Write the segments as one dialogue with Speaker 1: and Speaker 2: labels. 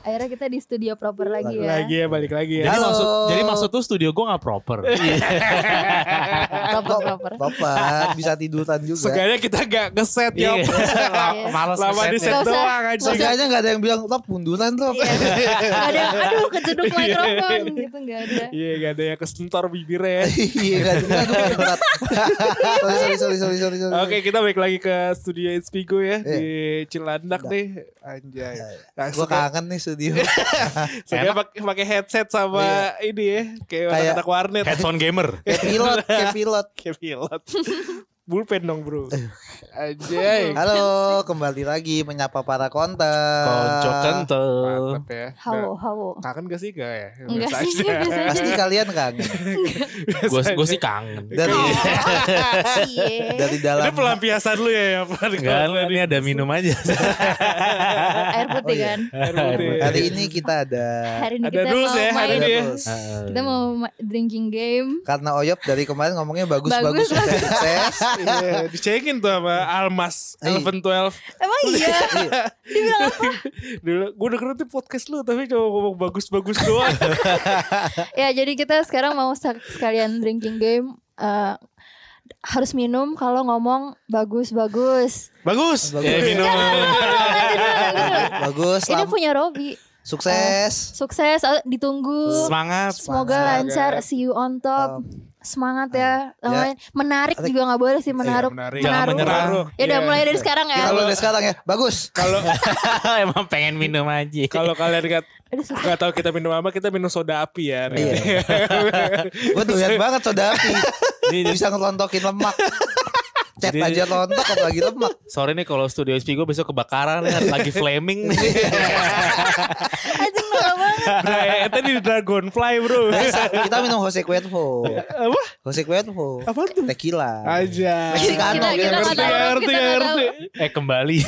Speaker 1: Akhirnya kita di studio proper lagi ya.
Speaker 2: Lagi ya balik lagi ya.
Speaker 3: Jadi
Speaker 4: Halo.
Speaker 3: maksud jadi maksud tuh studio gue nggak proper.
Speaker 1: Proper proper.
Speaker 4: Bapak bisa tiduran juga.
Speaker 2: Seenggaknya kita gak ngeset ya.
Speaker 3: Iya. Malas
Speaker 2: Lama
Speaker 4: ya.
Speaker 2: di set
Speaker 1: Nggak usah.
Speaker 2: doang anjing.
Speaker 4: Seenggaknya gak ada yang bilang, top munduran top.
Speaker 1: Iya. Nggak ada yang, aduh kejeduk mikrofon gitu nggak ada.
Speaker 2: Iya gak ada yang kesentor bibirnya. ya.
Speaker 4: Iya gak dengar gue bikin berat. Sorry sorry sorry sorry sorry. sorry.
Speaker 2: Oke kita balik lagi ke studio Inspigo
Speaker 4: Iya.
Speaker 2: ya. Di Cilandak
Speaker 4: Udah. Iya.
Speaker 2: nih. Anjay. Nah,
Speaker 4: Gue kangen nih studio.
Speaker 2: Saya pakai pakai headset sama ini ya.
Speaker 4: Iya.
Speaker 2: Kayak
Speaker 4: Kayak-
Speaker 2: anak-anak warnet.
Speaker 3: Headphone gamer.
Speaker 4: Kayak pilot, kayak pilot.
Speaker 2: Kayak pilot. Bullpen dong bro. Anjay.
Speaker 4: Halo, kembali lagi menyapa para konten.
Speaker 3: Konco kentel.
Speaker 2: Ah, Mantap ya.
Speaker 1: Hawo hawo.
Speaker 2: Nah, kangen gak sih? Gak ya?
Speaker 1: Enggak
Speaker 2: Biasa
Speaker 1: sih, biasa aja.
Speaker 4: Pasti kalian kangen
Speaker 3: Gue
Speaker 2: aja.
Speaker 3: gue sih kangen.
Speaker 4: dari
Speaker 1: Iya.
Speaker 4: dari
Speaker 2: Ini
Speaker 4: dalam
Speaker 2: pelampiasan lu ya. Yapan.
Speaker 3: Enggak,
Speaker 2: Kalau
Speaker 3: ini ada minum aja.
Speaker 1: Air putih
Speaker 4: Oh, iya.
Speaker 1: kan.
Speaker 2: air putih.
Speaker 4: hari ini kita ada
Speaker 1: Hari ini
Speaker 2: Ada
Speaker 1: kita
Speaker 2: rules
Speaker 1: mau
Speaker 2: ya, hari
Speaker 1: main.
Speaker 2: ini ya.
Speaker 4: Terus.
Speaker 1: Kita mau ma- drinking game.
Speaker 4: karena Oyop dari kemarin ngomongnya bagus
Speaker 1: Bagus,
Speaker 4: bagus,
Speaker 1: bagus.
Speaker 4: sukses.
Speaker 2: Iya, dicekin tuh sama Almas
Speaker 4: Iya.
Speaker 2: Eleven Twelve.
Speaker 1: Emang iya. Dibilang apa?
Speaker 2: Dulu gue udah ngerti podcast lu tapi cuma ngomong bagus-bagus doang.
Speaker 1: Ya jadi kita sekarang mau sak- sekalian drinking game. eh, harus minum kalau ngomong bagus-bagus.
Speaker 2: bagus.
Speaker 4: Bagus.
Speaker 2: Ya,
Speaker 3: Eh,
Speaker 2: minum.
Speaker 1: Nanti dulu, nanti dulu.
Speaker 4: bagus
Speaker 1: Ini
Speaker 4: lam-
Speaker 1: punya Robi.
Speaker 4: sukses
Speaker 1: Sukses, eh, ditunggu.
Speaker 3: Semangat.
Speaker 1: Semoga
Speaker 2: Semangat.
Speaker 1: lancar, see you on top.
Speaker 4: Top.
Speaker 1: Semangat ya.
Speaker 4: Ya.
Speaker 1: Namanya- Menarik
Speaker 4: Ada- Iya,
Speaker 1: juga nggak boleh sih menaruh.
Speaker 2: menarik.
Speaker 3: Jangan
Speaker 1: menaruh.
Speaker 3: menyerah.
Speaker 2: Menaruh.
Speaker 1: Ya udah
Speaker 2: Iya.
Speaker 1: mulai dari sekarang ya.
Speaker 4: kita mulai dari sekarang ya bagus
Speaker 2: Kalau
Speaker 3: Emang pengen minum aja.
Speaker 2: kalau kalian nggak
Speaker 1: Aduh, susah.
Speaker 2: nggak tahu kita minum apa, kita minum soda api ya.
Speaker 4: Iya. gue doyan banget soda api
Speaker 3: Ini-
Speaker 4: bisa ngelontokin lemak Cet
Speaker 3: Jadi-
Speaker 4: aja lontok apalagi lemak
Speaker 3: Sorry nih kalau studio SP gue besok kebakaran kan lagi flaming nih.
Speaker 1: Anjing norak banget.
Speaker 2: Nah, ya, tadi di Dragonfly bro.
Speaker 4: kita minum Jose Cuervo
Speaker 2: Apa?
Speaker 4: Jose Cuervo
Speaker 2: Apa tuh?
Speaker 4: tequila
Speaker 2: Aja.
Speaker 4: Mexicano,
Speaker 1: Kita- kita
Speaker 4: gitu.
Speaker 1: nggak tahu, Iya.
Speaker 2: ngerti,
Speaker 1: kita nggak
Speaker 2: ngerti.
Speaker 3: eh kembali.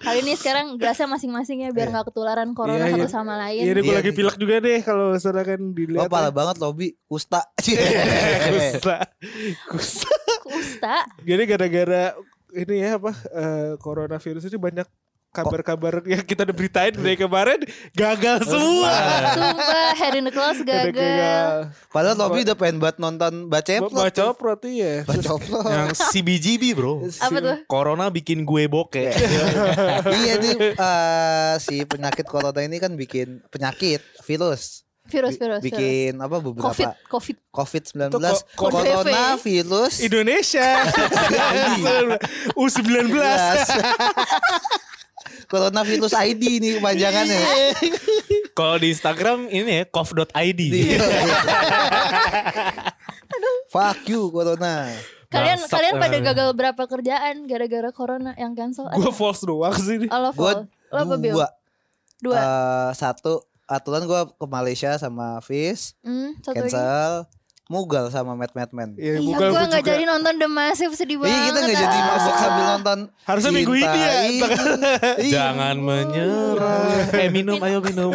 Speaker 1: Kali ini sekarang gelasnya masing-masing ya biar nggak ketularan corona
Speaker 2: Iya,
Speaker 1: satu
Speaker 2: iya.
Speaker 1: sama lain.
Speaker 2: Iya, gue
Speaker 4: Iya,
Speaker 2: lagi
Speaker 4: iya.
Speaker 2: pilek juga deh kalau misalkan
Speaker 4: Lo
Speaker 2: dilihat.
Speaker 4: parah banget lobby Kusta
Speaker 2: Kusta. Kusta.
Speaker 1: Kusta.
Speaker 2: Jadi gara-gara ini ya apa eh, coronavirus ini banyak kabar-kabar yang kita udah beritain dari kemarin gagal semua.
Speaker 1: Sumpah Head in the Clouds gagal.
Speaker 4: Padahal lobby udah pengen buat nonton Baceplot
Speaker 2: Baca prot iya.
Speaker 4: Baceplot
Speaker 3: Yang CBGB bro.
Speaker 1: Apa tuh?
Speaker 3: Corona bikin gue bokeh.
Speaker 4: Iya nih eh, Si penyakit corona ini kan bikin Penyakit Virus
Speaker 1: Virus,
Speaker 4: Bi-
Speaker 1: virus, virus.
Speaker 4: Bikin apa beberapa
Speaker 1: Covid, covid.
Speaker 4: COVID-19
Speaker 2: Itu ko-
Speaker 1: COVID.
Speaker 4: Corona virus
Speaker 2: Indonesia U19
Speaker 4: Corona virus ID nih kepanjangannya
Speaker 2: Iya.
Speaker 3: Kalau di Instagram ini ya cough.id.
Speaker 2: Iya.
Speaker 4: Fuck you Corona
Speaker 1: Kalian
Speaker 3: Bangsat
Speaker 1: kalian pada
Speaker 4: eh.
Speaker 3: emang.
Speaker 1: gagal berapa kerjaan gara-gara corona yang cancel?
Speaker 2: Gue false doang sih
Speaker 1: Oh, lo
Speaker 4: Gue
Speaker 1: full. Lo apa Bill?
Speaker 4: dua
Speaker 1: Dua.
Speaker 4: Eh, Satu Aturan gue ke Malaysia sama Fis
Speaker 1: Hmm, satu lagi.
Speaker 4: eh, Cancel Mugal sama Mad Madman
Speaker 2: Iya,
Speaker 1: Iya,
Speaker 2: bukan
Speaker 1: gue
Speaker 2: gua
Speaker 1: nggak
Speaker 2: juga.
Speaker 1: jadi nonton The Massive sedih banget.
Speaker 4: Iya kita nggak jadi
Speaker 1: Ah.
Speaker 4: mabok sambil nonton.
Speaker 2: Harusnya minggu ini ya.
Speaker 4: Cinta ini. Iya.
Speaker 3: Jangan menyerah. Eh minum ayo minum.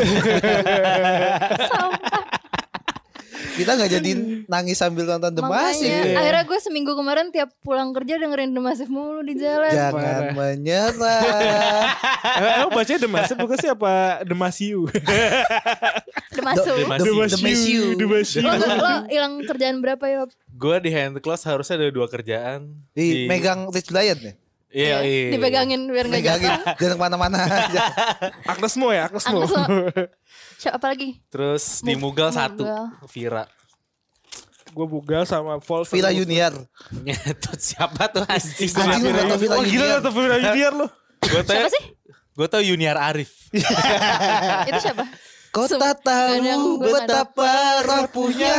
Speaker 4: Kita nggak jadi nangis sambil nonton The
Speaker 1: Makanya,
Speaker 2: Iya.
Speaker 3: Iya.
Speaker 4: Massive.
Speaker 1: akhirnya gue seminggu kemarin tiap pulang kerja dengerin The Massive mulu
Speaker 4: Ya.
Speaker 1: di jalan.
Speaker 4: Jangan
Speaker 2: Parah.
Speaker 4: menyerah.
Speaker 2: Eh, Emang bacanya Demasif bukan sih apa Demasiu
Speaker 1: The Massive.
Speaker 3: Massive.
Speaker 4: Demasiu.
Speaker 2: Demasiu
Speaker 1: Lo, lo hilang kerjaan berapa ya?
Speaker 3: gue di hand class harusnya ada dua kerjaan.
Speaker 2: Iya.
Speaker 4: Ih, megang Rich Lion nih.
Speaker 3: Iya, iya.
Speaker 1: Dipegangin biar nggak jatuh.
Speaker 4: Megangin jangan kemana-mana.
Speaker 2: Agnesmo ya Agnesmo
Speaker 1: Agnes lo- Siapa apa lagi?
Speaker 3: Terus di
Speaker 1: Mug-
Speaker 3: Mugal satu,
Speaker 1: Mugal.
Speaker 3: Vira.
Speaker 2: Gue bugal sama false
Speaker 4: Villa Junior.
Speaker 3: Nyetut siapa tuh anjing?
Speaker 4: Anjing, lu nggak tahu Villa
Speaker 2: Oh gila
Speaker 4: Junior.
Speaker 2: nonton Villa Junior lo
Speaker 3: Gue tau,
Speaker 1: Siapa sih?
Speaker 3: gue tau Junior Arif.
Speaker 4: Eh.
Speaker 1: Itu siapa?
Speaker 4: Kau
Speaker 1: Sem-
Speaker 4: tak
Speaker 1: Nggak ada yang
Speaker 4: tahu
Speaker 1: gue
Speaker 4: betapa rapuhnya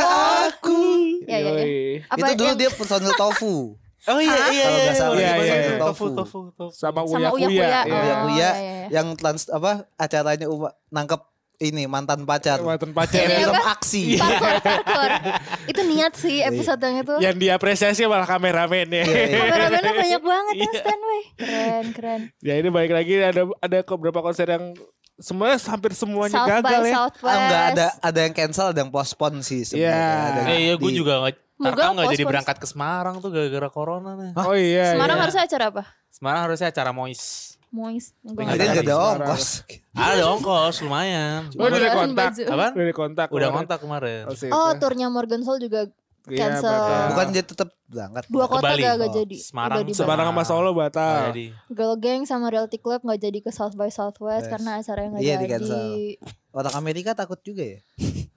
Speaker 4: aku.
Speaker 1: Ya, ya, ya.
Speaker 2: Yoi.
Speaker 1: Apa
Speaker 4: Itu dulu
Speaker 1: yang-
Speaker 4: dia personal tofu.
Speaker 3: Oh iya, iya,
Speaker 4: Kalau nggak salah,
Speaker 3: iya,
Speaker 2: iya,
Speaker 3: iya,
Speaker 2: iya.
Speaker 3: iya. Tofu, tofu, tofu.
Speaker 2: Sama
Speaker 1: sama
Speaker 2: Uya
Speaker 1: Uya Kuya. Oh,
Speaker 2: Kuya iya.
Speaker 4: Uya Kuya.
Speaker 1: iya, iya.
Speaker 4: yang trans apa acaranya Uma- nangkep ini mantan pacar.
Speaker 2: Oh, Mantan
Speaker 4: Kayak
Speaker 1: Iya,
Speaker 2: pacar ya.
Speaker 4: film
Speaker 1: apa?
Speaker 4: aksi.
Speaker 1: Parkour, parkour. Itu niat sih episode yang itu.
Speaker 3: Ya.
Speaker 2: Yang diapresiasi malah kameramennya
Speaker 4: Iya, iya.
Speaker 1: Kamera-kamera banyak banget
Speaker 3: Iya.
Speaker 1: ya standby. Keren, keren.
Speaker 2: Ya ini balik lagi ada ada ke beberapa konser yang semuanya hampir semuanya
Speaker 1: South by
Speaker 2: gagal ya.
Speaker 1: Southwest.
Speaker 4: Ah, enggak ada ada yang cancel ada yang postpone sih
Speaker 2: Iya.
Speaker 4: sebenarnya. Ada yang
Speaker 3: Eh, iya, gue
Speaker 4: di-
Speaker 3: juga nggak-
Speaker 1: Moga
Speaker 3: Tarkam nggak jadi
Speaker 1: postpone.
Speaker 3: berangkat ke Semarang tuh gara-gara corona nih.
Speaker 2: Oh iya.
Speaker 1: Semarang
Speaker 2: iya.
Speaker 1: harusnya acara apa?
Speaker 3: Semarang harusnya acara mois.
Speaker 1: Mois.
Speaker 3: Nggak
Speaker 4: Jadi
Speaker 3: ada
Speaker 4: gak ada
Speaker 2: habis
Speaker 4: ongkos.
Speaker 1: Iya.
Speaker 3: Ada ongkos lumayan.
Speaker 2: Oh, udah
Speaker 1: Jualan
Speaker 2: kontak.
Speaker 1: baju.
Speaker 3: Apa?
Speaker 2: Udah kontak.
Speaker 3: Udah kontak kemarin.
Speaker 1: Oh, turnya Morgan Soul juga cancel.
Speaker 4: Bukan dia tetap berangkat.
Speaker 1: dua
Speaker 3: Iya, Ke
Speaker 1: kota
Speaker 3: Bali.
Speaker 1: gak, gak
Speaker 4: Oh,
Speaker 1: jadi.
Speaker 3: Semarang,
Speaker 1: Udah di Bali.
Speaker 2: Semarang sama Solo
Speaker 3: Oh,
Speaker 4: Iya,
Speaker 2: batal.
Speaker 3: jadi.
Speaker 1: Girl Gang sama Reality Club nggak jadi ke South by Southwest
Speaker 4: Yes.
Speaker 1: karena acaranya nggak
Speaker 4: Iya,
Speaker 1: jadi.
Speaker 4: di-cancel. Orang Amerika takut juga ya.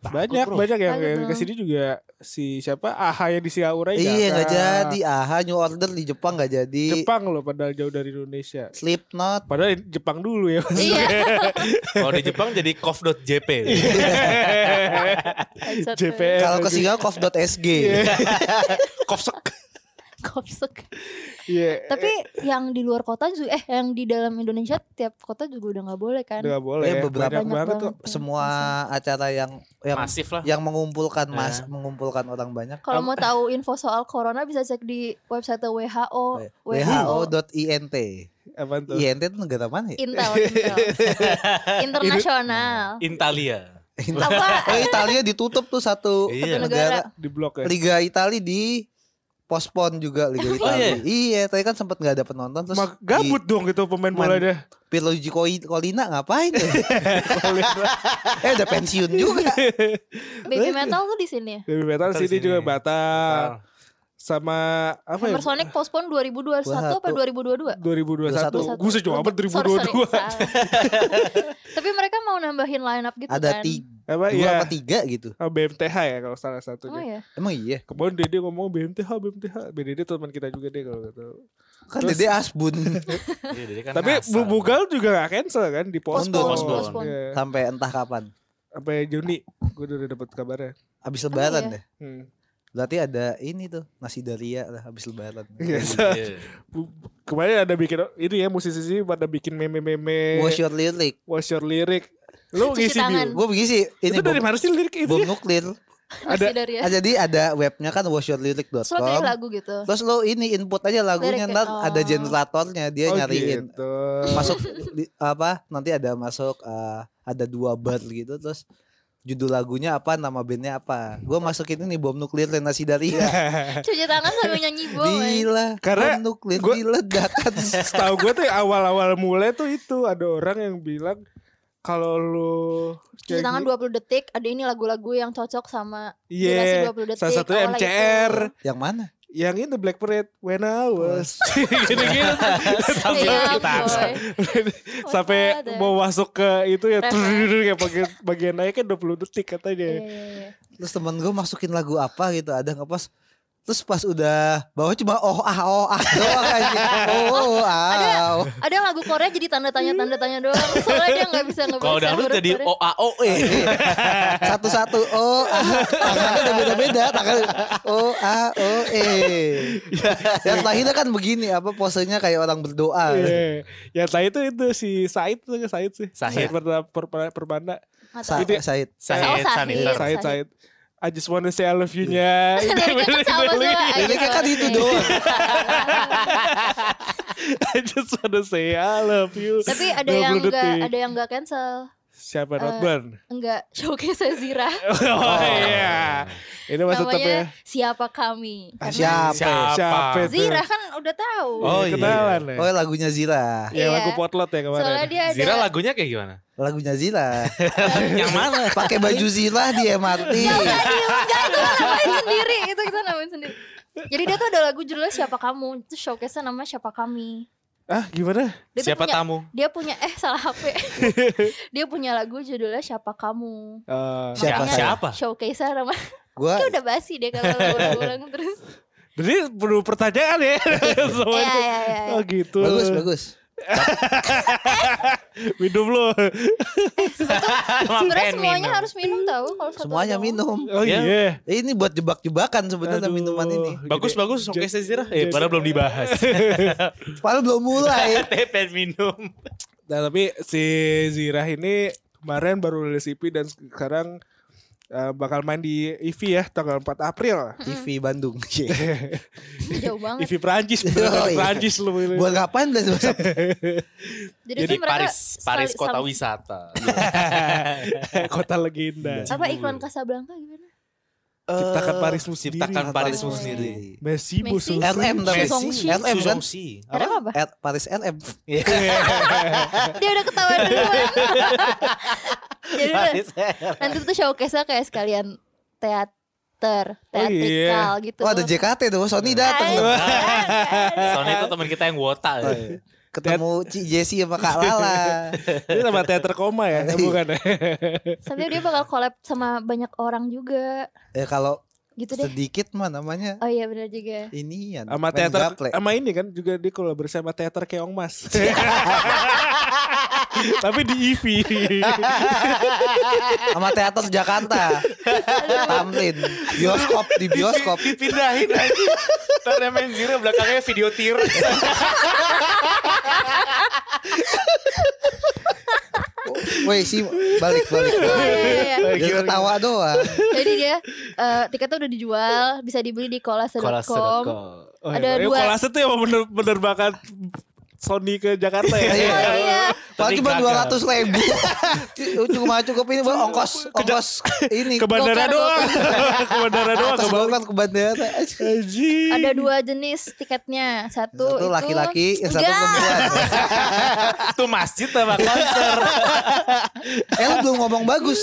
Speaker 2: banyak
Speaker 3: Takut, bro.
Speaker 2: banyak yang,
Speaker 1: Takut
Speaker 2: yang
Speaker 1: dong.
Speaker 2: kesini juga si siapa Aha yang di Siaura
Speaker 4: Iya nggak jadi. Aha New Order di Jepang nggak jadi.
Speaker 2: kan? Jepang loh padahal jauh dari Indonesia.
Speaker 4: Slipknot.
Speaker 2: Padahal Jepang dulu ya.
Speaker 1: Iya.
Speaker 3: Kalau di Jepang jadi kof.jp.
Speaker 2: Iya.
Speaker 1: Headset tuh.
Speaker 2: JPL.
Speaker 4: Iya. Kalau ke Singapura kof.sg.
Speaker 3: Kofsek.
Speaker 1: Kopsek.
Speaker 2: Iya.
Speaker 1: Tapi yang di luar kota juga eh yang di dalam Indonesia tiap kota juga udah nggak boleh kan?
Speaker 2: Udah gak boleh. ya.
Speaker 4: Eh, beberapa-
Speaker 2: banyak banget tuh.
Speaker 1: banget.
Speaker 4: Semua acara yang yang
Speaker 3: Masif lah.
Speaker 4: yang mengumpulkan mas
Speaker 3: Eh.
Speaker 4: mengumpulkan orang banyak.
Speaker 1: Kalau mau tahu info soal corona bisa cek di website
Speaker 2: Oh,
Speaker 4: Oh,
Speaker 1: WHO.
Speaker 4: Eh,
Speaker 2: iya.
Speaker 4: WHO.int.
Speaker 2: Apaan tuh?
Speaker 4: INT itu negara mana ya?
Speaker 1: Intel, Intel. Internasional.
Speaker 3: Italia.
Speaker 1: Apa?
Speaker 4: Oh Italia ditutup tuh satu
Speaker 3: Iya.
Speaker 4: negara.
Speaker 2: Di blok ya.
Speaker 4: Liga Italia di postpone juga Liga Italia. Iya, tadi kan sempat nggak ada penonton terus
Speaker 2: Mak- gabut dong gitu pemain
Speaker 4: Man-
Speaker 2: bola deh.
Speaker 4: Pierluigi Coi- Colina ngapain ya? eh udah pensiun juga.
Speaker 1: Baby metal tuh di sini. ya?
Speaker 2: Baby metal
Speaker 3: Batal
Speaker 2: sini
Speaker 3: sini.
Speaker 2: juga batal. Sama apa ya?
Speaker 1: Hammer Sonic postpone 2021 apa 2022?
Speaker 2: 2021.
Speaker 1: 2021.
Speaker 2: Gue sejauh apa
Speaker 1: Sorry, sorry,
Speaker 2: 2022.
Speaker 1: salah. Tapi mereka mau nambahin line up gitu
Speaker 4: Ada
Speaker 1: kan.
Speaker 4: tiga,
Speaker 2: Apa
Speaker 4: dua
Speaker 2: ya?
Speaker 4: apa tiga gitu.
Speaker 2: BMTH ya kalau salah
Speaker 1: Oh
Speaker 2: satunya.
Speaker 1: ya.
Speaker 4: Emang iya.
Speaker 2: Kemarin Dede ngomong BMTH, BMTH. BDD teman kita juga deh kalau gitu.
Speaker 4: Kan
Speaker 2: Terus-
Speaker 4: Dede Asbun
Speaker 3: Iya, jadi kan
Speaker 2: Tapi
Speaker 3: asal.
Speaker 2: Bu Bugal juga gak cancel kan di pospon.
Speaker 4: Postpone,
Speaker 1: postpone.
Speaker 2: Iya.
Speaker 4: sampai entah kapan.
Speaker 2: Sampai Juni gue udah dapet kabarnya.
Speaker 4: Habis lebaran
Speaker 1: iya.
Speaker 4: deh.
Speaker 2: Hmm.
Speaker 4: Berarti ada ini tuh nasi daria lah habis lebaran.
Speaker 2: Iya, so,
Speaker 3: Iya.
Speaker 2: bu- kemarin ada bikin itu ya musisi-musisi pada bikin meme-meme
Speaker 4: Wash your lyric.
Speaker 2: what's your lyric. Lu
Speaker 1: Cuci
Speaker 2: ngisi
Speaker 1: tangan.
Speaker 2: bio.
Speaker 4: Gue begini sih ini
Speaker 2: Itu dari
Speaker 4: bom,
Speaker 2: mana sih lirik itu?
Speaker 4: bom
Speaker 2: ya?
Speaker 4: nuklir.
Speaker 1: Ada
Speaker 2: Ada-
Speaker 1: dari ya.
Speaker 4: Ah, jadi ada webnya kan
Speaker 1: Terus lo kayak
Speaker 4: washyourlyric.com.
Speaker 1: lagu gitu.
Speaker 4: Terus lo ini input aja lagunya
Speaker 1: Liriknya,
Speaker 4: ntar
Speaker 1: oh.
Speaker 4: ada generatornya dia
Speaker 2: Oh,
Speaker 4: nyariin
Speaker 2: gitu.
Speaker 4: masuk li- apa nanti ada masuk eh, ada dua bar gitu terus judul lagunya apa nama bandnya apa gue masukin ini bom nuklir Renasi Daria
Speaker 1: Iya. Cuci tangan sambil nyanyi boy.
Speaker 4: gila
Speaker 2: Karena
Speaker 4: bom nuklir
Speaker 2: gua-
Speaker 4: diledakkan
Speaker 2: Setahu gue tuh awal-awal mulai tuh itu ada orang yang bilang kalau lu
Speaker 1: Cuci
Speaker 2: kayak
Speaker 1: tangan
Speaker 2: gi-
Speaker 1: 20 detik. Ada ini lagu-lagu yang cocok sama
Speaker 2: Iya.
Speaker 1: durasi 20 detik.
Speaker 2: Salah satunya
Speaker 1: awalnya
Speaker 2: MCR.
Speaker 1: gitu.
Speaker 4: yang mana
Speaker 2: Yang itu Black Parade When I
Speaker 1: Oh,
Speaker 2: was
Speaker 3: Gini-gini tuh. Sampai
Speaker 1: Iya,
Speaker 3: cuci tangan.
Speaker 1: boy. Oh,
Speaker 2: Sampai
Speaker 1: Wadah.
Speaker 2: mau masuk ke itu ya
Speaker 1: Refresh.
Speaker 2: trrrr, kayak bagian, bagian naiknya 20 detik
Speaker 1: Iya,
Speaker 2: katanya
Speaker 1: iya, iya.
Speaker 4: terus temen gue masukin lagu apa gitu ada nggak pas terus pas udah bawa cuma oh ah oh ah doang aja oh, oh ah oh.
Speaker 1: Ada yang lagu Korea jadi tanda tanya tanda tanya doang. Soalnya dia nggak bisa ngebaca.
Speaker 3: Kalau dangdut
Speaker 1: huruf
Speaker 3: jadi
Speaker 1: Korea.
Speaker 4: Oh,
Speaker 3: OAOE.
Speaker 4: eh, satu-satu oh ah tangannya udah beda-beda tangan oh ah oh eh yang terakhir kan begini apa posenya kayak orang berdoa
Speaker 2: Iya. Ya tadi itu itu si Said tuh Said sih.
Speaker 3: Sahid.
Speaker 2: Perta- Perpa- Perpanda.
Speaker 1: Nggak tahu.
Speaker 4: Sa
Speaker 2: Itu-
Speaker 4: Said
Speaker 1: Oh,
Speaker 3: Saya
Speaker 1: Sahid.
Speaker 3: sanitar.
Speaker 1: Sahid.
Speaker 2: Iya, Said Said. I just wanna say I love you nya.
Speaker 1: Liriknya kan sama semua.
Speaker 4: ini kan itu doang
Speaker 2: I just wanna say I love you.
Speaker 1: Tapi ada yang
Speaker 2: 20
Speaker 1: nggak
Speaker 2: detik.
Speaker 1: ada yang nggak cancel. Eh,
Speaker 2: Siapa Rodburn?
Speaker 1: Enggak, showcase Zira.
Speaker 2: Oh iya. Ini masih tetap ya.
Speaker 1: Namanya siapa kami?
Speaker 4: Ah,
Speaker 1: Karena
Speaker 4: siapa
Speaker 2: Siapa?
Speaker 3: Siapa?
Speaker 2: itu?
Speaker 1: Zira kan udah tahu.
Speaker 3: Oh, iya.
Speaker 2: kenalan ya.
Speaker 4: oh lagunya Zila
Speaker 1: Iya.
Speaker 2: Ya lagu potlot ya kemarin.
Speaker 1: Soalnya dia ada
Speaker 3: Zira lagunya kayak gimana?
Speaker 4: lagunya Zila
Speaker 3: Yang mana?
Speaker 4: pakai baju Zila di MRT
Speaker 1: Enggak, Dil, enggak itu kita namain sendiri. Itu kita namain sendiri. Jadi dia tuh ada lagu judulnya Siapa Kamu. Itu showcase-nya namanya Siapa Kami.
Speaker 2: Ah gimana?
Speaker 1: Dia tuh
Speaker 3: Siapa
Speaker 1: punya,
Speaker 3: tamu?
Speaker 1: dia punya eh salah HP. dia punya lagu judulnya Siapa Kamu.
Speaker 2: Eh,
Speaker 4: Siapa
Speaker 1: Makanya
Speaker 4: saya?
Speaker 3: Siapa?
Speaker 1: Showcase-nya namanya
Speaker 4: gue
Speaker 1: Kayak udah basi dia kalau ulang-ulang terus.
Speaker 2: jadi perlu pertanyaan ya.
Speaker 1: Iya,
Speaker 2: Semuanya.
Speaker 1: iya, iya.
Speaker 2: Oh gitu.
Speaker 4: bagus bagus
Speaker 2: Minum lo.
Speaker 1: Sebenarnya semuanya harus minum tahu kalau satu
Speaker 4: semuanya
Speaker 1: doang.
Speaker 4: minum
Speaker 2: Oh
Speaker 3: Ya.
Speaker 2: iya.
Speaker 4: Eh, ini buat jebak-jebakan sebenarnya
Speaker 2: Aduh.
Speaker 4: minuman ini
Speaker 3: Bagus bagus
Speaker 2: Jadi-
Speaker 3: showcase Zira. Eh,
Speaker 2: jadi-
Speaker 3: padahal belum dibahas.
Speaker 4: padahal belum mulai
Speaker 3: Teh pengen minum.
Speaker 2: Nah tapi si Zirah ini kemarin baru rilis EP dan sekarang eh, bakal main di EV ya tanggal 4 April.
Speaker 4: TV Bandung
Speaker 1: Jauh banget.
Speaker 2: EV Perancis, beneran
Speaker 4: Oh, iya.
Speaker 2: Perancis lu. lu.
Speaker 4: buat ngapain dan
Speaker 1: Jadi,
Speaker 3: Jadi
Speaker 1: tuh mereka
Speaker 3: Paris,
Speaker 1: sekali-
Speaker 3: Paris kota
Speaker 1: sama-
Speaker 3: wisata.
Speaker 2: Kota legenda. Iya.
Speaker 1: Apa iklan Casablanca gimana?
Speaker 2: Ciptakan Parismu sendiri.
Speaker 3: Ciptakan Parismu
Speaker 1: Parismu
Speaker 3: sendiri.
Speaker 2: Messi
Speaker 1: Messi.
Speaker 2: busu.
Speaker 4: LM tapi
Speaker 3: Messi.
Speaker 4: LM kan
Speaker 3: Sih.
Speaker 1: Adam apa?
Speaker 4: At Paris LM
Speaker 1: Dia udah ketawa duluan. Jadi udah,
Speaker 4: Paris LM
Speaker 1: nanti tuh showcase-nya kayak sekalian teater,
Speaker 2: Oh, iya.
Speaker 1: teatrikal gitu.
Speaker 4: Oh ada JKT tuh Sony dateng
Speaker 1: Iya.
Speaker 4: tuh
Speaker 3: Soalnya itu teman kita yang wota.
Speaker 4: Oh, iya. Ketemu Ci Jesse sama Kak Lala
Speaker 2: Ini sama teater koma ya, Eh, bukan?
Speaker 1: Sampai dia bakal collab sama banyak orang juga.
Speaker 4: Ya kalau
Speaker 1: Gitu deh.
Speaker 4: sedikit mah namanya
Speaker 1: Oh iya benar juga.
Speaker 4: ini ya
Speaker 2: Sama teater, sama ini kan juga dia kalau bersama teater Keong Mas. Tapi di IV.
Speaker 4: sama teater Jakarta Tamrin bioskop di bioskop
Speaker 3: Dipindahin aja. Ntar main zero belakangnya video tir.
Speaker 4: Woi si balik balik
Speaker 1: Oh, iya, iya, iya.
Speaker 4: Dia ketawa doang
Speaker 1: Jadi dia eh, tiketnya udah dijual, bisa dibeli di kolase.com.
Speaker 2: Oh,
Speaker 1: Ada
Speaker 2: iya,
Speaker 1: dua.
Speaker 2: Kolase tuh yang bener penerbangan Sony ke Jakarta ya.
Speaker 4: Iya.
Speaker 1: Oh iya.
Speaker 4: Paling cuma
Speaker 3: gagal.
Speaker 4: dua ratus ribu Cuma cukup ini buat ongkos Ongkos ini
Speaker 2: Ke
Speaker 1: Gokar,
Speaker 2: bandara doang. ke bandara doang.
Speaker 4: Atas
Speaker 2: ke bawah.
Speaker 4: bukan ke bandara
Speaker 2: Anjing.
Speaker 1: Ada dua jenis tiketnya. Satu,
Speaker 4: Satu
Speaker 1: itu
Speaker 4: laki-laki Yang satu
Speaker 1: Enggak.
Speaker 4: perempuan
Speaker 3: Itu masjid sama konser.
Speaker 4: Eh lu belum ngomong bagus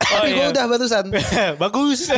Speaker 4: Tapi gue
Speaker 3: iya.
Speaker 4: udah barusan
Speaker 3: Bagus.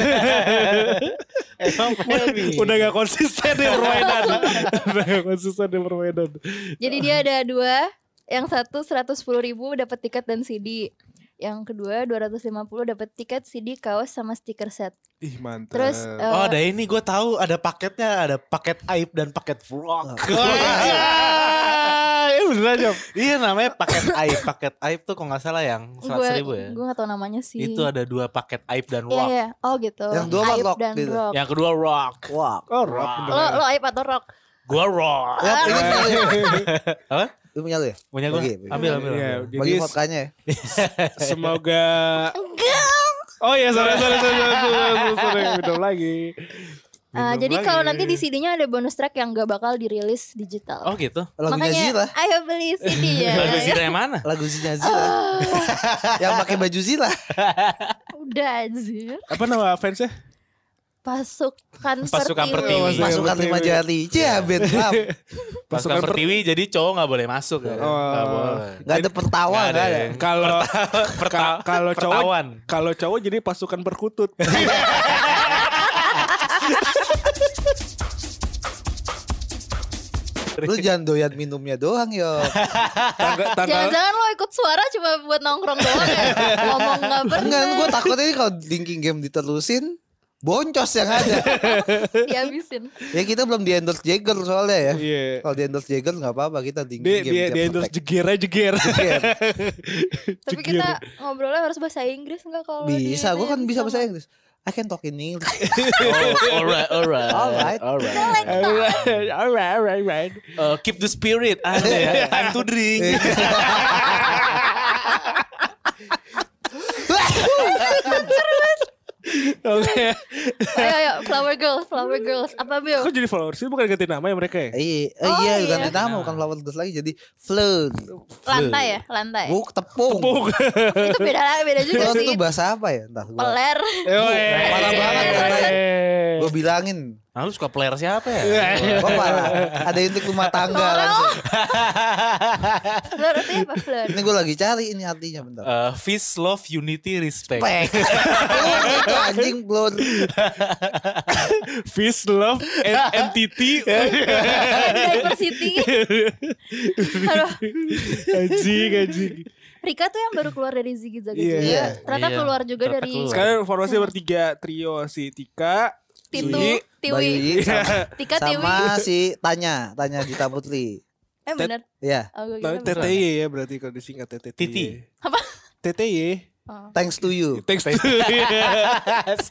Speaker 3: Emang Feby.
Speaker 2: Udah gak konsisten di permainan. Udah gak konsisten di permainan.
Speaker 1: Jadi dia ada dua, yang satu 110.000 ribu dapat tiket dan CD. Yang kedua 250 dapat tiket CD kaos sama stiker set.
Speaker 2: Ih mantap.
Speaker 1: Terus eh,
Speaker 3: Oh ada ini gue tahu ada paketnya ada paket aib dan paket
Speaker 4: Oh,
Speaker 3: vlog.
Speaker 2: Ah, ya beneran Jom.
Speaker 3: iya namanya paket aib paket aib tuh kalau nggak salah yang
Speaker 1: gue
Speaker 3: seratus ribu ya.
Speaker 1: gue gak tau namanya sih.
Speaker 3: Itu ada dua paket aib
Speaker 1: Iya,
Speaker 3: dan rock. Ya,
Speaker 1: iya. Oh gitu.
Speaker 4: Yang dua mah
Speaker 1: aib
Speaker 4: rock
Speaker 1: dan
Speaker 4: gitu.
Speaker 1: rock.
Speaker 3: Yang kedua rock.
Speaker 4: Wah
Speaker 2: Oh, rock
Speaker 1: Lo
Speaker 3: Wah.
Speaker 2: beneran.
Speaker 1: lo aib atau rock?
Speaker 3: Gua rock.
Speaker 4: Lu ini punya lu ya?
Speaker 3: Apa?
Speaker 4: Lu punya lu ya?
Speaker 3: Punya gue.
Speaker 4: Bagi,
Speaker 3: Ambil ambil.
Speaker 2: Iya,
Speaker 3: ambil.
Speaker 2: jadi
Speaker 4: Bagi
Speaker 2: se-
Speaker 4: vodkanya ya
Speaker 2: semoga
Speaker 1: Enggak.
Speaker 2: Oh ya, sorry sorry sorry sorry, sorry, sorry, sorry. minum lagi. Minum
Speaker 1: Eh, jadi kalau
Speaker 2: lagi.
Speaker 1: nanti di CD-nya ada bonus track yang gak bakal dirilis digital.
Speaker 3: Oh gitu.
Speaker 4: Lagunya
Speaker 1: Makanya
Speaker 4: Zila
Speaker 1: ayo beli CD ya.
Speaker 3: Lagu Zira yang mana?
Speaker 4: Lagunya Zila Yang pakai baju Zila
Speaker 1: Udah Zir.
Speaker 2: apa nama fansnya?
Speaker 1: Pasukan,
Speaker 3: Pasukan Pertiwi.
Speaker 2: Iya,
Speaker 4: Masukkan
Speaker 2: betul,
Speaker 4: lima
Speaker 2: iya.
Speaker 4: jari Jabet maaf
Speaker 2: Pasukan
Speaker 3: Pasukan pertiwi jadi cowok nggak boleh masuk ya.
Speaker 2: Oh.
Speaker 3: Nggak boleh.
Speaker 4: Gak ada pertawa
Speaker 3: Nggak
Speaker 4: gak
Speaker 3: ada
Speaker 4: ada
Speaker 3: ya.
Speaker 2: Kalau ka-
Speaker 3: Perta-
Speaker 2: kalau cowok
Speaker 3: Pertawan.
Speaker 2: kalau cowok jadi pasukan perkutut.
Speaker 4: Lu jangan doyan minumnya doang yo
Speaker 2: tanggal tanggal
Speaker 1: Jangan-jangan lo ikut suara cuma buat nongkrong doang ya. Ngomong gak
Speaker 4: Enggak,
Speaker 1: bener.
Speaker 4: gue takutnya ini kalau drinking game diterusin boncos yang ada.
Speaker 1: Dihabisin.
Speaker 4: ya kita belum di endorse Jagger soalnya ya.
Speaker 2: Iya.
Speaker 4: Kalau di endorse Jagger nggak apa-apa kita drinking
Speaker 2: Dia
Speaker 4: game.
Speaker 2: dia
Speaker 4: tiap
Speaker 2: dia endorse
Speaker 4: kontak.
Speaker 2: jeger aja jeger.
Speaker 4: Jagger.
Speaker 1: Tapi kita ngobrolnya harus bahasa Inggris enggak kalau di-
Speaker 4: Bisa, gue kan
Speaker 1: itu ya,
Speaker 4: bisa bahasa Inggris. I can talk in English.
Speaker 3: Oh, alright, alright,
Speaker 4: Alright.
Speaker 3: alright.
Speaker 2: alright, alright, alright.
Speaker 3: Uh, keep the spirit. Ada
Speaker 2: Iya.
Speaker 3: ya. Time to
Speaker 4: Eh,
Speaker 3: drink.
Speaker 2: Oke.
Speaker 1: Ayo ayo Flower Girls, Flower Girls. Apa Bill?
Speaker 2: Aku jadi followers ini bukan ganti nama ya mereka ya?
Speaker 4: Iya, eh,
Speaker 1: Oh,
Speaker 4: iya,
Speaker 1: iya.
Speaker 4: bukan nama, bukan flower girls lagi jadi flood.
Speaker 1: Lantai ya, lantai.
Speaker 4: Buk tepung.
Speaker 2: Pung.
Speaker 1: Itu beda beda juga
Speaker 4: Flood
Speaker 1: sih.
Speaker 4: itu bahasa apa ya? Entar gua,
Speaker 1: Peler.
Speaker 2: Parah
Speaker 4: banget, parah.
Speaker 2: Eh.
Speaker 4: gua bilangin.
Speaker 3: Nah, lu suka player siapa ya?
Speaker 2: Iya.
Speaker 4: Gua parah. Ada intik rumah tangga kan. langsung.
Speaker 1: Peler artinya apa peler?
Speaker 4: Ini gua lagi cari ini artinya bentar.
Speaker 3: Uh, peace, love, unity, respect.
Speaker 4: Pek. Oh, itu anjing blur.
Speaker 2: Fish love and entity.
Speaker 1: Diversity. Aduh,
Speaker 2: anjing, anjing.
Speaker 1: Rika tuh yang baru keluar dari Ziggy Zaga
Speaker 2: Iya.
Speaker 1: juga.
Speaker 4: Iya.
Speaker 1: Ternyata
Speaker 3: Iya,
Speaker 1: keluar juga
Speaker 3: ternyata
Speaker 1: dari
Speaker 3: keluar.
Speaker 2: Sekarang formasi bertiga trio si Tika,
Speaker 1: Titu,
Speaker 2: Ziggy,
Speaker 1: Tiwi,
Speaker 4: Bayu sama-
Speaker 1: Tika Tiwi.
Speaker 4: sama si Tanya, Tanya Dita Putri.
Speaker 1: Eh bener.
Speaker 4: Ya,
Speaker 1: Oh, gue
Speaker 2: Tapi
Speaker 1: kira bener.
Speaker 2: TTY ya berarti kalau disingkat TTY.
Speaker 3: Titi.
Speaker 1: Apa?
Speaker 2: TTY.
Speaker 1: Oh.
Speaker 4: thanks to you.
Speaker 2: Thanks to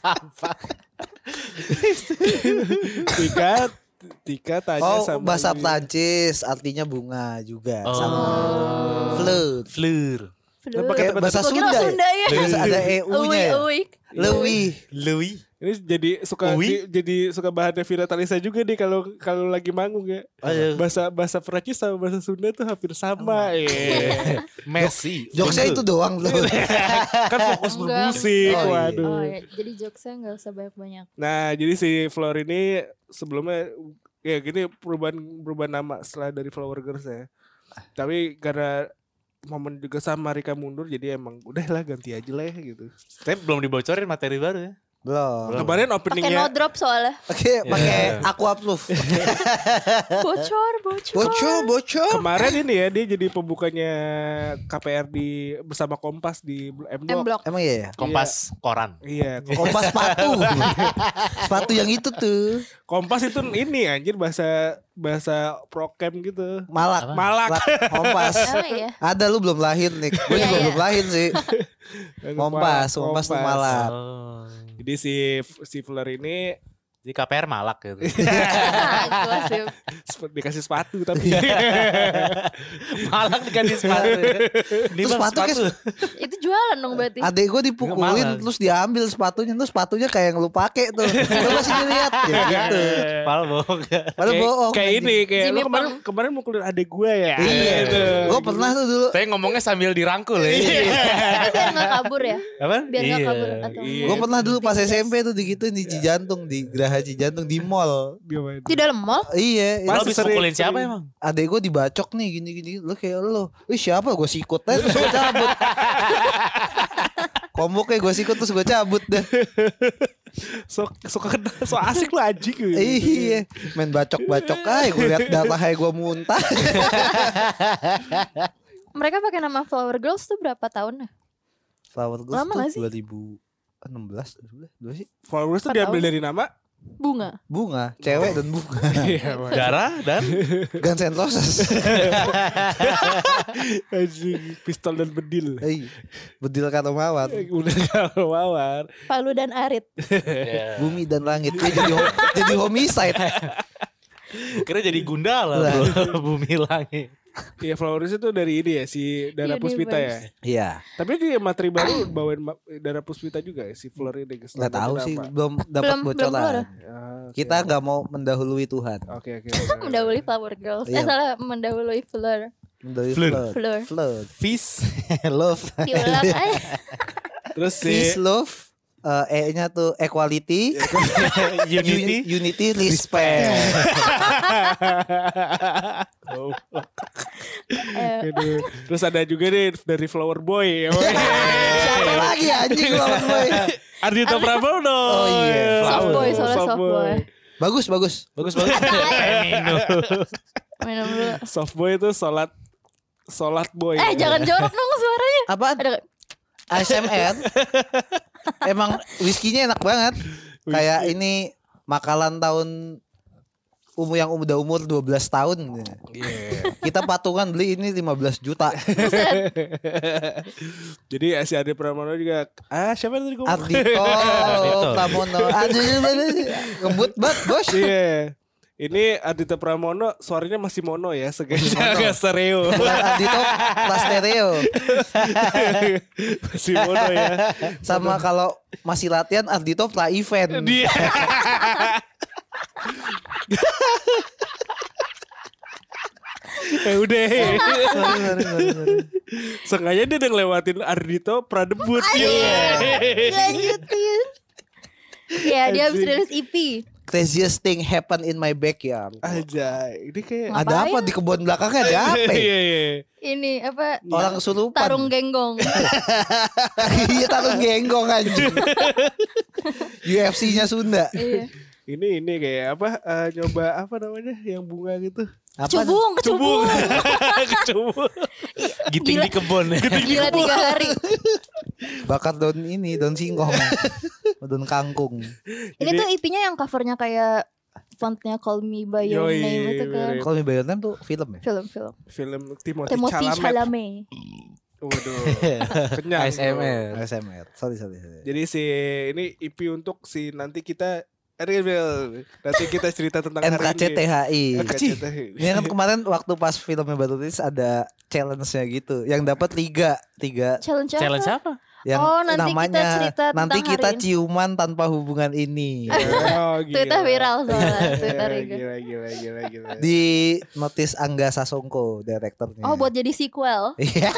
Speaker 3: Sampah.
Speaker 2: Tika, Tika tanya
Speaker 4: Oh,
Speaker 2: sama
Speaker 4: bahasa Prancis artinya bunga juga
Speaker 3: Oh.
Speaker 4: sama fleur.
Speaker 3: Fleur.
Speaker 1: Aduh.
Speaker 4: Pakai bahasa
Speaker 1: Gua kira
Speaker 4: Sunda.
Speaker 1: Sunda
Speaker 4: ya?
Speaker 1: ya.
Speaker 4: Terus ada
Speaker 1: Uwi,
Speaker 4: EU-nya.
Speaker 1: uwi.
Speaker 4: Lewi.
Speaker 3: Louis.
Speaker 2: Ini jadi suka
Speaker 3: Uwi?
Speaker 2: di- jadi suka bahannya Vira Talisa juga nih kalau kalau lagi manggung ya.
Speaker 3: Aduh.
Speaker 2: Bahasa bahasa Perancis sama bahasa Sunda tuh hampir sama. Iya.
Speaker 3: Messi.
Speaker 4: Jokesnya itu doang loh.
Speaker 2: kan fokus
Speaker 1: Enggak.
Speaker 2: bermusik.
Speaker 4: Oh, iya.
Speaker 2: waduh.
Speaker 1: Oh ya, jadi jokesnya nggak usah banyak-banyak.
Speaker 2: Nah, jadi si Flor ini sebelumnya ya gini perubahan perubahan nama setelah dari Flower Girls ya. Tapi karena momen juga sama Rika mundur jadi emang udahlah ganti aja lah ya gitu.
Speaker 3: Tapi belum dibocorin materi baru ya.
Speaker 4: Belum.
Speaker 1: Pakai
Speaker 2: Kemarin
Speaker 1: no
Speaker 2: openingnya
Speaker 1: drop soalnya.
Speaker 4: Oke, pakai
Speaker 3: Iya.
Speaker 4: aqua proof.
Speaker 1: Bocor, bocor.
Speaker 4: Bocor, bocor.
Speaker 2: kemarin ini ya dia jadi pembukanya KPR di bersama Kompas di
Speaker 1: M
Speaker 2: M Block.
Speaker 1: block.
Speaker 4: Emang iya ya?
Speaker 3: Kompas koran.
Speaker 2: Iya, Kom-
Speaker 4: Kompas sepatu. sepatu yang itu tuh.
Speaker 2: Kompas itu ini anjir bahasa bahasa prokem gitu.
Speaker 4: Malak.
Speaker 2: Malak.
Speaker 4: Malak. Kompas.
Speaker 1: Emang iya.
Speaker 4: Ada lu belum lahir nih. Gue
Speaker 1: Iya,
Speaker 4: juga
Speaker 1: iya.
Speaker 4: belum lahir sih. Kompas, kompas tuh malak.
Speaker 3: Oh.
Speaker 2: Jadi si si Flor ini
Speaker 3: Jadi KPR malak gitu.
Speaker 1: Jelas ya.
Speaker 2: sep- dikasih sepatu tapi
Speaker 4: Iya,
Speaker 3: malak diganti sepatu. Ini
Speaker 4: Terus
Speaker 3: bang,
Speaker 4: sepatu kayak
Speaker 1: Itu jualan dong berarti.
Speaker 4: Adek gue dipukulin
Speaker 3: Malah.
Speaker 4: terus diambil sepatunya terus sepatunya kayak yang lu pakai tuh. Lu masih dilihat ya gitu.
Speaker 3: Palbok.
Speaker 4: Padahal
Speaker 2: Kayak-
Speaker 4: bohong. kan gitu.
Speaker 2: Kayak ini kayak
Speaker 1: Jimmy
Speaker 2: lu kemarin
Speaker 1: Pang.
Speaker 2: kemarin mukulin adik gue ya.
Speaker 4: Iya.
Speaker 2: Gitu.
Speaker 4: Gue pernah tuh dulu.
Speaker 3: Saya ngomongnya sambil dirangkul ya.
Speaker 1: Tapi biar nggak kabur ya.
Speaker 3: Apa?
Speaker 1: Biar nggak
Speaker 3: Iya.
Speaker 1: kabur atau
Speaker 2: Iya.
Speaker 4: Gue pernah dulu pas SMP tuh digituin di Cijantung di Geraha Cijantung di mall.
Speaker 2: Gimana?
Speaker 1: di dalam mall
Speaker 4: Iya,
Speaker 3: Lo
Speaker 2: Pas
Speaker 3: habis
Speaker 2: sering-
Speaker 3: pukulin siapa emang?
Speaker 4: adek gue dibacok nih gini gini lu kayak lu Ih siapa gue sikut aja terus gue cabut Komboknya gue sikut terus gue cabut dah
Speaker 2: So, so, kena- so asik lu anjing gitu.
Speaker 4: Iya main bacok-bacok aja gue liat darah aja gue muntah
Speaker 1: mereka pakai nama Flower Girls tuh berapa tahun ya?
Speaker 4: Flower Girls
Speaker 1: Lama nggak sih?
Speaker 4: tuh 2016 dua sih
Speaker 2: Followers tuh diambil dari nama.
Speaker 1: Bunga.
Speaker 4: bunga cewek dan bunga
Speaker 2: Iya, Bang.
Speaker 3: Darah dan
Speaker 4: Guns N' Roses
Speaker 2: Anjing, pistol dan bedil.
Speaker 4: Hei, Iya. bedil kata mawar
Speaker 2: Udah kalau mawar.
Speaker 1: Palu dan Arit.
Speaker 3: Iya.
Speaker 4: bumi dan langit Eh, jadi ho- jadi homicide
Speaker 3: Kira jadi gundala
Speaker 4: Lah.
Speaker 3: bro Bumi langit
Speaker 2: Iya, followers itu dari ini ya si Dara
Speaker 1: Universe.
Speaker 2: Puspita ya.
Speaker 4: iya
Speaker 2: Tapi di materi baru bawain ma- Dara Puspita juga ya si Flor ini. guys.
Speaker 4: nggak tahu
Speaker 2: Kenapa?
Speaker 4: sih belum dapat
Speaker 1: Belum- belum keluar ya?
Speaker 4: bocoran
Speaker 2: Ah, oke.
Speaker 4: kita nggak mau mendahului Tuhan
Speaker 2: Oke, oke.
Speaker 1: Mendahului Flower Girls. Eh
Speaker 4: Iya.
Speaker 1: salah mendahului Flower.
Speaker 4: mendahului
Speaker 3: Flirt.
Speaker 4: Flood
Speaker 1: Flower.
Speaker 4: Flood
Speaker 3: Fis
Speaker 4: love
Speaker 1: Diulang aja.
Speaker 2: Terus si
Speaker 4: peace love eh, E-nya tuh equality,
Speaker 3: Unity
Speaker 4: Un- unity, respect.
Speaker 1: Eh,
Speaker 2: Aduh. Oh, Terus ada juga nih dari Flower Boy.
Speaker 4: Siapa lagi anjing lawan boy?
Speaker 2: Ardhita Pramono.
Speaker 4: Oh, iya.
Speaker 1: Soft boy, soalnya soft boy.
Speaker 4: Bagus bagus.
Speaker 3: Bagus bagus
Speaker 1: Minum dulu.
Speaker 2: Soft boy itu sholat sholat boy.
Speaker 1: Eh jangan jorok dong suaranya.
Speaker 4: Apaan?
Speaker 1: Ada
Speaker 4: ASMR. Emang whiskynya enak banget. Kayak ini makalan tahun umur yang udah umur 12 tahun.
Speaker 2: Iya.
Speaker 4: Kita patungan beli ini 15 juta.
Speaker 2: Jadi eh, si Ardhita Pramono juga ah siapa tadi gue?
Speaker 4: Ardito,
Speaker 3: Ardhito.
Speaker 4: Pramono. Aduh, ngebut banget bos.
Speaker 2: Iya. Ini Ardhita Pramono suaranya masih mono ya, sengaja agak stereo.
Speaker 4: Bukan Ardito, Plas Stereo.
Speaker 2: masih mono ya.
Speaker 4: Sama kalau masih latihan Ardito pra event.
Speaker 2: Dia Eh udah
Speaker 4: Sorry, sorry, sorry, sorry.
Speaker 2: Sengaja dia udah ngelewatin Ardito pradebut
Speaker 1: lanjutin. Ya dia habis rilis EP.
Speaker 4: Craziest thing happen in my backyard.
Speaker 2: Aja Ini kayak
Speaker 1: Ngapain?
Speaker 4: Ada apa di kebun belakangnya ada apa? ya?
Speaker 2: Iya iya
Speaker 1: Ini apa?
Speaker 4: Orang kesurupan.
Speaker 1: Tarung genggong.
Speaker 4: Iya tarung genggong anjing. UFC-nya Sunda.
Speaker 1: Iya.
Speaker 2: Ini ini kayak apa eh, Nyoba apa namanya Yang bunga gitu
Speaker 4: Apa?
Speaker 1: Cubung, cubung.
Speaker 2: Coba
Speaker 3: Giting
Speaker 1: Gila.
Speaker 3: di kebun
Speaker 1: Gila tiga hari.
Speaker 4: Bakar daun ini, daun singkong. daun kangkung.
Speaker 1: Ini
Speaker 2: Jadi-
Speaker 1: tuh IP-nya yang covernya kayak fontnya Call Me by Your
Speaker 2: Yoi,
Speaker 1: Name itu kan.
Speaker 2: bener.
Speaker 4: Kalau di Bayon tuh film ya?
Speaker 1: Film-film.
Speaker 2: Film Timothy,
Speaker 1: Timothy Chalamet.
Speaker 2: Chalamet. Waduh Kenyang
Speaker 4: ASMR. Sorry, sorry, sorry.
Speaker 2: Ya. Jadi si ini EP untuk si nanti kita Reveal Nanti kita cerita tentang hari ini.
Speaker 4: NKCTHI.
Speaker 2: NKCTHI.
Speaker 4: Ini kan kemarin waktu pas filmnya baru rilis ada challenge-nya gitu. Yang dapat tiga, tiga
Speaker 1: Challenge apa?
Speaker 3: Challenge apa?
Speaker 4: yang
Speaker 1: Oh, nanti kita
Speaker 4: namanya
Speaker 1: cerita tentang
Speaker 4: nanti kita
Speaker 1: hari ini."
Speaker 4: ciuman tanpa hubungan ini
Speaker 2: Oh,
Speaker 1: Twitter
Speaker 2: gila.
Speaker 1: viral soalnya gitu. Twitter
Speaker 2: Gila,
Speaker 1: itu.
Speaker 2: gila, gila, gila, gila.
Speaker 4: di notis Angga Sasongko direkturnya.
Speaker 1: Oh buat jadi sequel.
Speaker 4: Iya.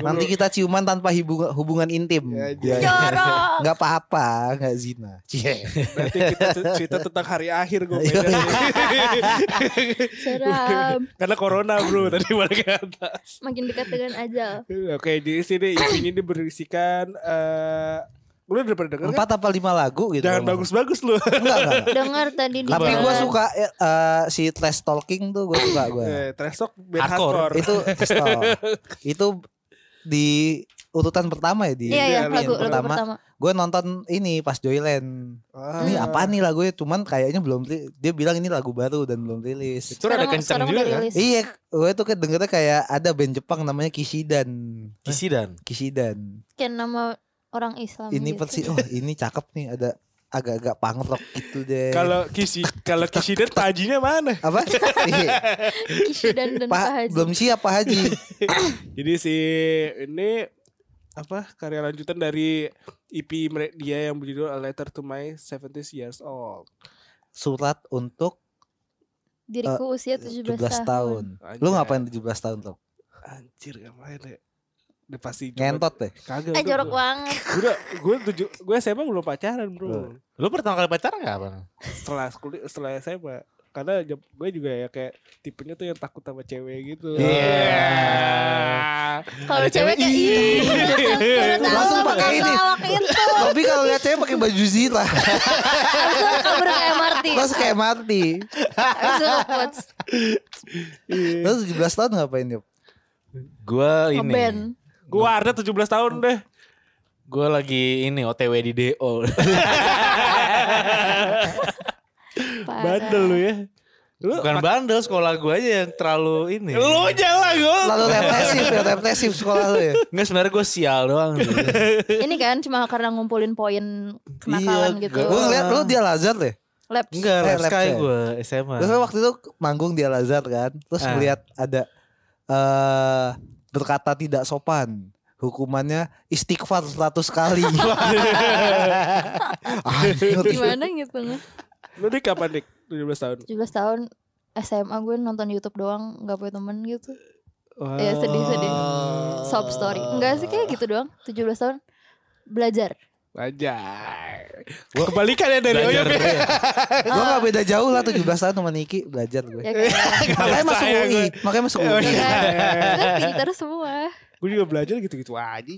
Speaker 4: nanti kita ciuman tanpa hibu- hubungan intim.
Speaker 2: Ya,
Speaker 4: Iya.
Speaker 2: ya.
Speaker 1: Jorok.
Speaker 4: Nggak apa-apa, nggak zina. Cie.
Speaker 2: Nanti kita cer- cerita tentang hari akhir gue
Speaker 4: Iya.
Speaker 1: Seram.
Speaker 2: Karena corona bro tadi malah kata.
Speaker 1: Makin dekat dengan ajal.
Speaker 2: Oke, jadi sini isinya ini berisikan eh lu udah pernah denger kan?
Speaker 4: Empat apa lima lagu gitu.
Speaker 2: Jangan bagus-bagus lu.
Speaker 4: Enggak, enggak, enggak.
Speaker 1: Dengar tadi di
Speaker 4: Tapi
Speaker 1: jalan.
Speaker 4: gue suka eh, eh, si trash talking tuh gue suka gue.
Speaker 2: Eh, trash talk band
Speaker 3: Hardcore.
Speaker 2: hardcore.
Speaker 4: itu trash talk. itu di urutan pertama ya di.
Speaker 1: Iya iya
Speaker 2: Yang
Speaker 1: lagu lagu
Speaker 4: pertama.
Speaker 1: pertama.
Speaker 4: Gue nonton ini pas Joyland.
Speaker 2: Ah.
Speaker 4: Eh, Ini apa ya? nih lagunya? Cuman kayaknya belum ri- dia bilang ini lagu baru dan belum rilis.
Speaker 3: Itu rada kenceng juga kan?
Speaker 1: rilis.
Speaker 4: Iya, gue tuh kedengernya kayak ada band Jepang namanya Kishidan.
Speaker 3: Kisidan.
Speaker 4: Kishidan.
Speaker 1: Kayak nama orang Islam.
Speaker 4: Ini
Speaker 1: gitu.
Speaker 4: persi, oh ini cakep nih ada agak-agak punk rock gitu deh.
Speaker 2: Kalau kisi kalau kisiden tajinya mana?
Speaker 4: apa? Iya,
Speaker 1: Kishidan dan
Speaker 4: Pak
Speaker 1: Pak Haji.
Speaker 4: belum siap Pak Haji.
Speaker 2: Jadi si ini apa karya lanjutan dari EP mere- dia yang berjudul A Letter to My 70 Years Old.
Speaker 4: Surat untuk
Speaker 1: Diriku usia 17, tahun.
Speaker 4: 17 tahun. Lu ngapain 17 tahun tuh?
Speaker 2: Anjir ngapain ya? Udah pasti cuma-
Speaker 4: Ngentot deh.
Speaker 2: Kagak.
Speaker 1: Eh
Speaker 2: udah,
Speaker 1: jorok
Speaker 2: bro.
Speaker 1: banget.
Speaker 2: Gue udah- gue tujuh gue SMA belum pacaran bro.
Speaker 3: Lu pertama kali pacaran gak apa?
Speaker 2: Setelah kuliah setelah SMA karena jam- gue juga ya kayak tipenya tuh yang takut sama cewek gitu.
Speaker 3: Iya.
Speaker 1: Kalau
Speaker 3: Ada
Speaker 1: cewek
Speaker 3: cewek,
Speaker 1: kayak ih. Udah tahu
Speaker 4: Langsung
Speaker 1: bakal
Speaker 4: pakai ini.
Speaker 1: ngelawak itu.
Speaker 4: Tapi kalau lihat cewek pakai baju zirah,
Speaker 1: Abis itu kabur kayak Marti.
Speaker 4: terus kayak mati.
Speaker 1: Abis itu quotes.
Speaker 2: Iya.
Speaker 4: Terus 17 tahun ngapain yuk?
Speaker 3: Gua ini.
Speaker 1: Ngeband.
Speaker 2: Gue ada 17 tahun deh.
Speaker 3: Gue lagi ini OTW di DO.
Speaker 1: Parah.
Speaker 2: Bandel lu ya. Lu
Speaker 3: Bukan bandel sekolah gue aja yang terlalu ini.
Speaker 2: lu jangan gue.
Speaker 4: Lalu represif ya, represif sekolah lu ya.
Speaker 3: Nggak sebenarnya gue sial doang. sih.
Speaker 1: Ini kan cuma karena ngumpulin poin kenakalan
Speaker 3: Iya,
Speaker 1: gitu.
Speaker 3: gua
Speaker 4: Gue ngeliat lu dia Lazar deh.
Speaker 1: Laps.
Speaker 3: Enggak,
Speaker 4: Eh,
Speaker 3: lab
Speaker 4: lab
Speaker 3: sky
Speaker 4: saya.
Speaker 3: gue SMA.
Speaker 4: Terus lu waktu itu manggung di Al Azhar kan, terus
Speaker 3: Ah.
Speaker 4: melihat ada eh berkata tidak sopan. Hukumannya istighfar 100 kali. Ah, Anjir.
Speaker 1: Gimana gitu.
Speaker 2: Lu dik kapan dik? 17 tahun.
Speaker 1: 17 tahun SMA gue nonton YouTube doang nggak punya temen gitu. Ya, sedih, sedih. Sob story. Enggak sih kayak gitu doang. 17 tahun belajar.
Speaker 2: Anjay. Kebalikan ya dari
Speaker 3: Belajar
Speaker 2: Oyok ya.
Speaker 4: Gue gak Iya. beda jauh lah 17 tahun sama Niki belajar gue.
Speaker 1: Ya kan.
Speaker 4: Makanya masuk
Speaker 2: percaya
Speaker 4: UI, makanya masuk
Speaker 2: Oh,
Speaker 4: UI.
Speaker 2: iya.
Speaker 1: Kan pintar semua.
Speaker 2: Gue juga belajar gitu-gitu aja.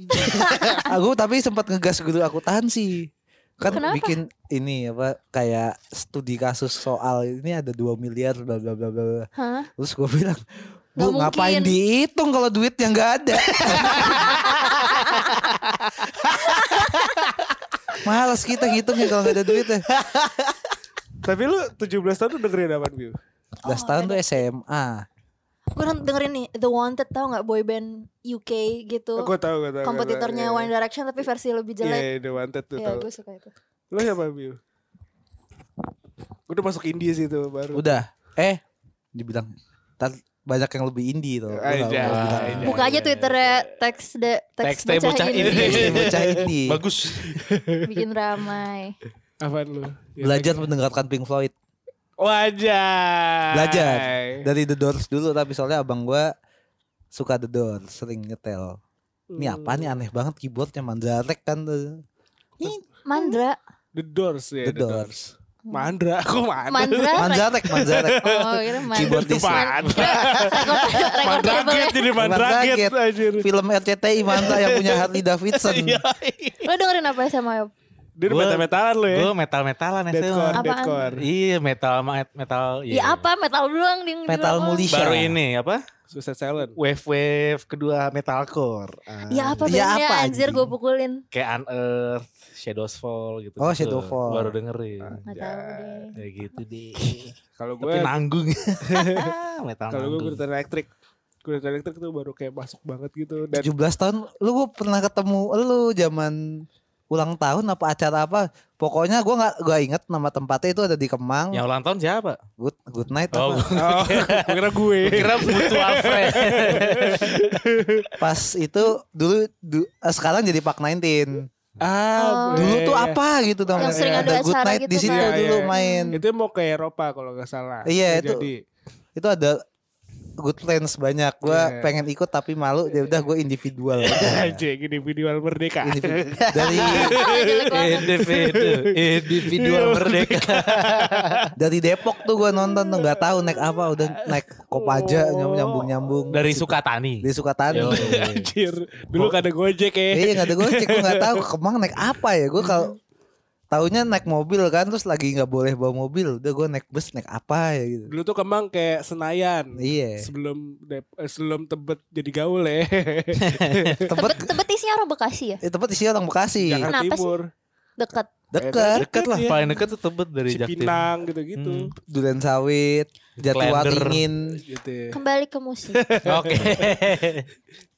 Speaker 4: Aku tapi sempat ngegas guru akuntansi. Kan
Speaker 1: Kenapa?
Speaker 4: bikin ini apa kayak studi kasus soal ini ada 2 miliar bla bla bla bla. bla.
Speaker 1: Hah?
Speaker 4: Terus gue bilang,
Speaker 1: Nggak
Speaker 4: Bu ngapain
Speaker 1: mungkin."
Speaker 4: dihitung kalau duit yang gak ada. Males kita ngitungnya kalau gak ada duitnya.
Speaker 2: Tapi lu 17 tahun tuh dengerin apaan Biu?
Speaker 4: 11 tahun tuh SMA.
Speaker 1: Gue dengerin nih The Wanted tau gak boy band UK gitu.
Speaker 2: Gue tau, gue tau.
Speaker 1: Kompetitornya One Direction tapi versi lebih
Speaker 2: Iya,
Speaker 1: jelek.
Speaker 2: iya, The Wanted tuh
Speaker 1: Iya
Speaker 2: tau.
Speaker 1: gue suka itu.
Speaker 2: Lu siapa Biu? Udah masuk India sih tuh baru.
Speaker 4: Udah. Eh, dibilang "Ntar banyak yang lebih indie tuh. Gua nggak-
Speaker 2: Aja.
Speaker 4: nggak bilang.
Speaker 3: Aja.
Speaker 1: Buka aja Twitternya teks de teks
Speaker 3: Teksnya
Speaker 1: bocah
Speaker 3: bocah
Speaker 1: ini
Speaker 3: ini.
Speaker 4: Indie, bocah indie.
Speaker 2: iya.
Speaker 3: Bagus.
Speaker 1: bikin ramai.
Speaker 2: Apaan lu? Ya,
Speaker 4: Belajar mendengarkan Pink Floyd
Speaker 2: Wajah.
Speaker 4: Belajar.
Speaker 1: Hmm.
Speaker 4: dari The Doors dulu tapi soalnya abang gua suka The Doors, sering nyetel. Ini ya? apa nih aneh banget keyboardnya Mandrake kan tuh.
Speaker 1: Mandra,
Speaker 2: The Doors ya.
Speaker 4: The Doors.
Speaker 2: Mandra. Kok Mandra?
Speaker 1: Mandra,
Speaker 4: Mandrake, Mandrake.
Speaker 1: Oh, kira
Speaker 4: Keyboard
Speaker 1: Mandra.
Speaker 4: di-
Speaker 2: Mandraget
Speaker 1: Record ya?
Speaker 2: jadi Mandraget.
Speaker 4: Mandraget.
Speaker 2: Anjir.
Speaker 4: film RCTI mantap yang punya Harley Davidson.
Speaker 3: Iya.
Speaker 1: Lo dengerin apa SMA Yop?
Speaker 2: Dia udah
Speaker 3: Gua-
Speaker 2: meta-metalan lu ya.
Speaker 3: Gue metal-metalan
Speaker 2: Deadcore,
Speaker 3: SMA.
Speaker 1: Apaan?
Speaker 2: deadcore.
Speaker 3: Iya metal metal iya,
Speaker 1: Ya apa metal doang di
Speaker 4: Iya, Metal
Speaker 1: mulis
Speaker 4: Mulisha.
Speaker 3: Baru ini apa?
Speaker 2: Suicide Silent.
Speaker 3: Wave wave kedua metalcore. Ah.
Speaker 1: Ya apa
Speaker 4: Ya
Speaker 1: bandnya
Speaker 4: apa,
Speaker 1: anjir
Speaker 4: anjing?
Speaker 1: gue pukulin
Speaker 3: Kayak Unearth, Shadows Fall gitu.
Speaker 4: Oh, Shadow Fall.
Speaker 3: Baru dengerin.
Speaker 1: Gak tau deh
Speaker 3: Ya gitu deh.
Speaker 2: Kalau gue
Speaker 3: Tapi nanggung. metal
Speaker 2: kalau gue
Speaker 3: nanggung.
Speaker 2: Guitar Electric. Guitar Electric tuh baru kayak masuk banget gitu dan
Speaker 4: 17 tahun lu gua pernah ketemu lu zaman ulang tahun apa acara apa pokoknya gua nggak gua inget nama tempatnya itu ada di Kemang
Speaker 3: Yang ulang tahun siapa?
Speaker 4: good good night
Speaker 3: Ya. Oh,
Speaker 4: apa.
Speaker 2: Oh, gua kira gue.
Speaker 3: kira mutual friend.
Speaker 4: pas itu dulu du- eh, sekarang jadi Pak 19
Speaker 2: Ah,
Speaker 1: Oh.
Speaker 2: gue-
Speaker 4: dulu tuh apa gitu namanya
Speaker 2: iya. Yang sering
Speaker 4: ada
Speaker 1: ada
Speaker 4: good
Speaker 1: acara
Speaker 4: night
Speaker 1: gitu
Speaker 4: di situ
Speaker 2: kan.
Speaker 4: dulu
Speaker 2: Iya, iya.
Speaker 4: main
Speaker 2: Itu mau ke Eropa kalau nggak salah.
Speaker 4: Iya, itu.
Speaker 2: Jadi,
Speaker 4: itu ada good plans banyak gua
Speaker 2: Hmm. Iya.
Speaker 4: pengen ikut tapi malu ya udah gue individual aja.
Speaker 2: aja gini video merdeka.
Speaker 4: Individu- dari
Speaker 1: Jelek
Speaker 4: Iya.
Speaker 1: banget.
Speaker 3: Individu, individual merdeka.
Speaker 4: dari Depok tuh gua nonton tuh nggak tahu naik apa udah naik kopaja nyambung nyambung
Speaker 3: Dari Sukatani.
Speaker 4: dari Sukatani
Speaker 3: Yo.
Speaker 2: Anjir. Dulu kada Gojek ya.
Speaker 4: Iya nggak ada gojek, gue nggak tahu ke Kemang naik apa ya. Gue kalau taunya naik mobil kan, terus lagi nggak boleh bawa mobil. Udah gue naik bus naik apa ya gitu.
Speaker 2: Dulu tuh Kemang kayak Senayan.
Speaker 4: Iya.
Speaker 2: Sebelum Dep- eh, sebelum Tebet jadi gaul ya.
Speaker 4: Tempat
Speaker 1: Tebet, tebet isinya orang Bekasi ya?
Speaker 4: eh, tempat isinya orang Bekasi.
Speaker 2: Jakarta
Speaker 1: Kenapa sih?
Speaker 2: Timur,
Speaker 1: Dekat.
Speaker 4: Dekat,
Speaker 3: Dekat lah,
Speaker 2: Iya.
Speaker 3: paling dekat tuh tebet dari Jaktim.
Speaker 2: Cipinang gitu-gitu.
Speaker 3: Hmm.
Speaker 4: Duren Sawit, Jatiwaringin.
Speaker 2: Gitu ya.
Speaker 1: Kembali ke musik.
Speaker 3: Oke.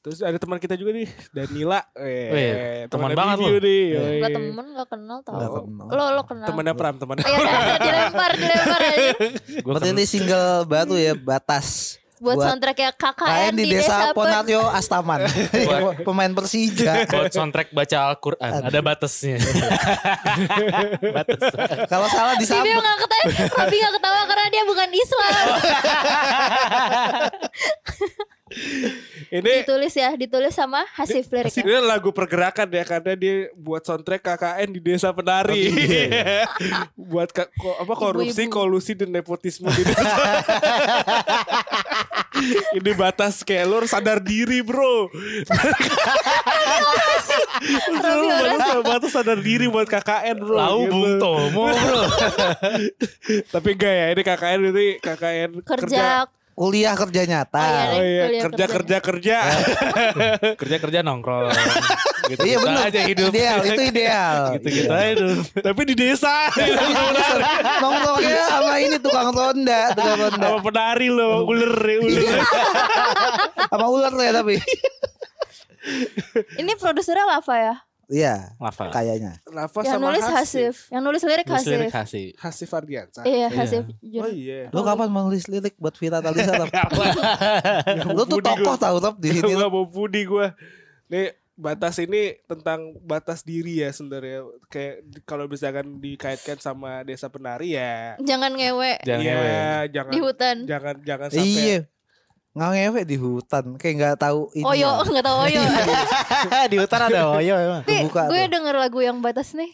Speaker 2: Terus ada teman kita juga nih, Danila. Eh,
Speaker 3: Wih, Oh iya, teman banget
Speaker 2: lu.
Speaker 3: lu.
Speaker 2: Nih,
Speaker 4: Iya.
Speaker 2: yoi.
Speaker 1: Gak temen gak kenal
Speaker 4: Nggak
Speaker 1: tau.
Speaker 4: kenal.
Speaker 1: Lo lo kenal.
Speaker 2: Temannya Pram, temannya.
Speaker 1: Iya, kan? dilempar, dilempar aja.
Speaker 3: Gua kan
Speaker 4: Berarti ini single baru ya batas.
Speaker 1: Buat,
Speaker 4: Buat
Speaker 1: soundtrack ya KKN
Speaker 4: Main di desa
Speaker 1: apa?
Speaker 4: Ponatio Astaman.
Speaker 3: Buat-
Speaker 4: Pemain Persija.
Speaker 3: buat soundtrack baca Al-Quran ada batasnya batas
Speaker 4: Kalau salah
Speaker 1: Si Beo
Speaker 4: disambut.
Speaker 1: gak ketawa, Robby gak ketawa karena dia bukan Islam.
Speaker 2: Ini
Speaker 1: ditulis ya, ditulis sama Hasif liriknya.
Speaker 2: Ini lagu pergerakan ya karena dia buat soundtrack KKN di Desa Penari. buat ka- ko- apa korupsi,
Speaker 1: Ibu-ibu.
Speaker 2: kolusi dan nepotisme di desa. Ini batas kayak lu harus sadar diri, Bro. Lu batas, batas sadar diri buat KKN, Bro.
Speaker 3: lau
Speaker 2: gitu.
Speaker 3: bung tomo bro
Speaker 2: Tapi enggak ya, ini KKN ini KKN kerja.
Speaker 1: Kerja,
Speaker 4: Kuliah kerja nyata.
Speaker 1: Oh, iya,
Speaker 2: Oh
Speaker 1: Kuliah
Speaker 2: iya, kerja kerja
Speaker 1: kerja.
Speaker 2: kerja.
Speaker 3: kerja kerja nongkrong gitu
Speaker 4: Iya benar.
Speaker 3: aja hidup
Speaker 4: Ideal, itu ideal. Iya,
Speaker 3: gitu gitu aja hidup
Speaker 2: Tapi di desa.
Speaker 4: Nongkrongnya sama ini tukang ronda, tukang ronda.
Speaker 2: Sama penari lo, ular, ular.
Speaker 4: Sama ular ya tapi.
Speaker 1: ini produsernya Lava ya?
Speaker 4: Iya,
Speaker 3: apa
Speaker 4: kayaknya.
Speaker 2: Rafa
Speaker 1: yang
Speaker 2: sama
Speaker 1: nulis
Speaker 2: Hasif.
Speaker 1: Hasif. Yang nulis lirik Hasif.
Speaker 3: kasih kasih
Speaker 2: Hasif Ardiansa.
Speaker 1: Iya,
Speaker 3: Iya.
Speaker 1: Hasif.
Speaker 2: Oh
Speaker 1: Jun.
Speaker 2: iya.
Speaker 4: Lu kapan menulis lirik buat Vita Talisa? Rob? Lu tuh
Speaker 2: Budi
Speaker 4: tokoh
Speaker 2: gua.
Speaker 4: tau Rob di sini.
Speaker 2: Gak mau budi gue. Nih batas ini tentang batas diri ya sebenarnya. Kayak di- kalau misalkan dikaitkan sama desa penari ya.
Speaker 1: Jangan ngewe
Speaker 3: jangan
Speaker 2: ya,
Speaker 3: ngewe.
Speaker 2: jangan
Speaker 1: di hutan.
Speaker 2: jangan jangan sampai
Speaker 4: Iya. Nggak ngewe di hutan, kayak nggak tahu ini.
Speaker 1: Oyo,
Speaker 4: Rob.
Speaker 1: nggak tahu Oyo.
Speaker 3: di hutan ada oh. oyo emang
Speaker 1: Tapi
Speaker 4: Kebuka
Speaker 1: gue
Speaker 4: tuh.
Speaker 1: denger lagu yang batas nih.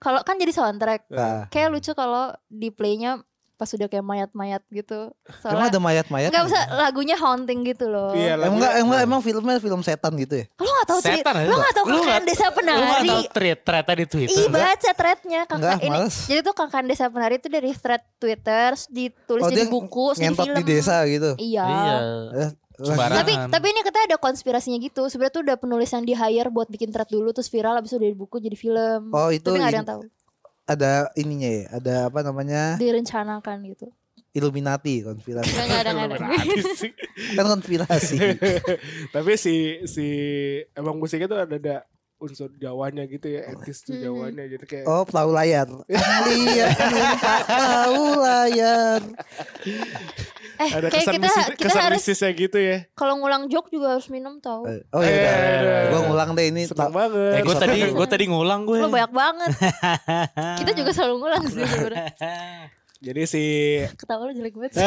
Speaker 1: Kalau kan jadi soundtrack.
Speaker 4: Nah,
Speaker 1: Kayak lucu kalau di playnya pas udah kayak mayat-mayat gitu.
Speaker 4: emang
Speaker 1: Soalnya
Speaker 4: ada mayat-mayat?
Speaker 1: nggak usah lagunya haunting gitu loh.
Speaker 2: Iya,
Speaker 4: Emang
Speaker 2: lagunya-
Speaker 4: enggak, emang, emang filmnya film setan gitu ya?
Speaker 1: Lo gak tau cerita,
Speaker 3: Setan aja
Speaker 1: lo
Speaker 3: tuh.
Speaker 1: gak tau
Speaker 3: Lu
Speaker 1: kakak
Speaker 3: nggak- Iya.
Speaker 1: desa
Speaker 3: lu nggak
Speaker 1: penari.
Speaker 3: tahu thread threadnya di twitter
Speaker 1: Ih baca threadnya
Speaker 4: Enggak,
Speaker 1: kakak ini.
Speaker 4: males.
Speaker 1: Jadi tuh kakak desa penari itu dari thread Twitter ditulis
Speaker 4: Oh,
Speaker 1: jadi
Speaker 4: dia
Speaker 1: buku, terus
Speaker 4: Ngentot
Speaker 1: jadi
Speaker 4: di
Speaker 1: film.
Speaker 4: desa gitu.
Speaker 1: Iya.
Speaker 3: iya
Speaker 4: Lagi-
Speaker 3: Sembarang.
Speaker 1: Tapi
Speaker 3: Barangan.
Speaker 1: tapi ini katanya ada konspirasinya gitu. Sebenarnya tuh udah penulis yang di hire buat bikin thread dulu terus viral habis itu dari buku jadi film.
Speaker 4: Oh itu
Speaker 1: tapi gak ada
Speaker 2: gitu.
Speaker 4: in-
Speaker 1: yang tahu.
Speaker 4: ada ininya ya, ada apa namanya
Speaker 1: Direncanakan gitu.
Speaker 4: Illuminati konspirasi.
Speaker 1: Enggak ada enggak ada.
Speaker 2: Berarti sih.
Speaker 4: kan konspirasi.
Speaker 2: Tapi si si emang musiknya tuh ada ada unsur Jawanya gitu ya, etis tuh
Speaker 1: Mhm.
Speaker 2: Jawanya jadi kayak
Speaker 4: Oh perahu layar Lihat tak perahu layar
Speaker 1: Eh,
Speaker 2: ada
Speaker 1: kayak
Speaker 2: kesan
Speaker 1: kita
Speaker 2: musik,
Speaker 1: kita
Speaker 2: kesan
Speaker 1: harus
Speaker 2: mistisnya gitu ya.
Speaker 1: kalau ngulang jok juga harus minum tau.
Speaker 4: Oh iya udah.
Speaker 2: Eh,
Speaker 4: Gua ngulang deh ini
Speaker 2: Seneng
Speaker 4: ta-
Speaker 2: banget.
Speaker 3: eh gue tadi gue tadi ngulang gue
Speaker 1: Lo banyak banget. kita juga selalu ngulang sih sebenarnya.
Speaker 2: Jadi si
Speaker 1: Ketawa lo jelek banget sih.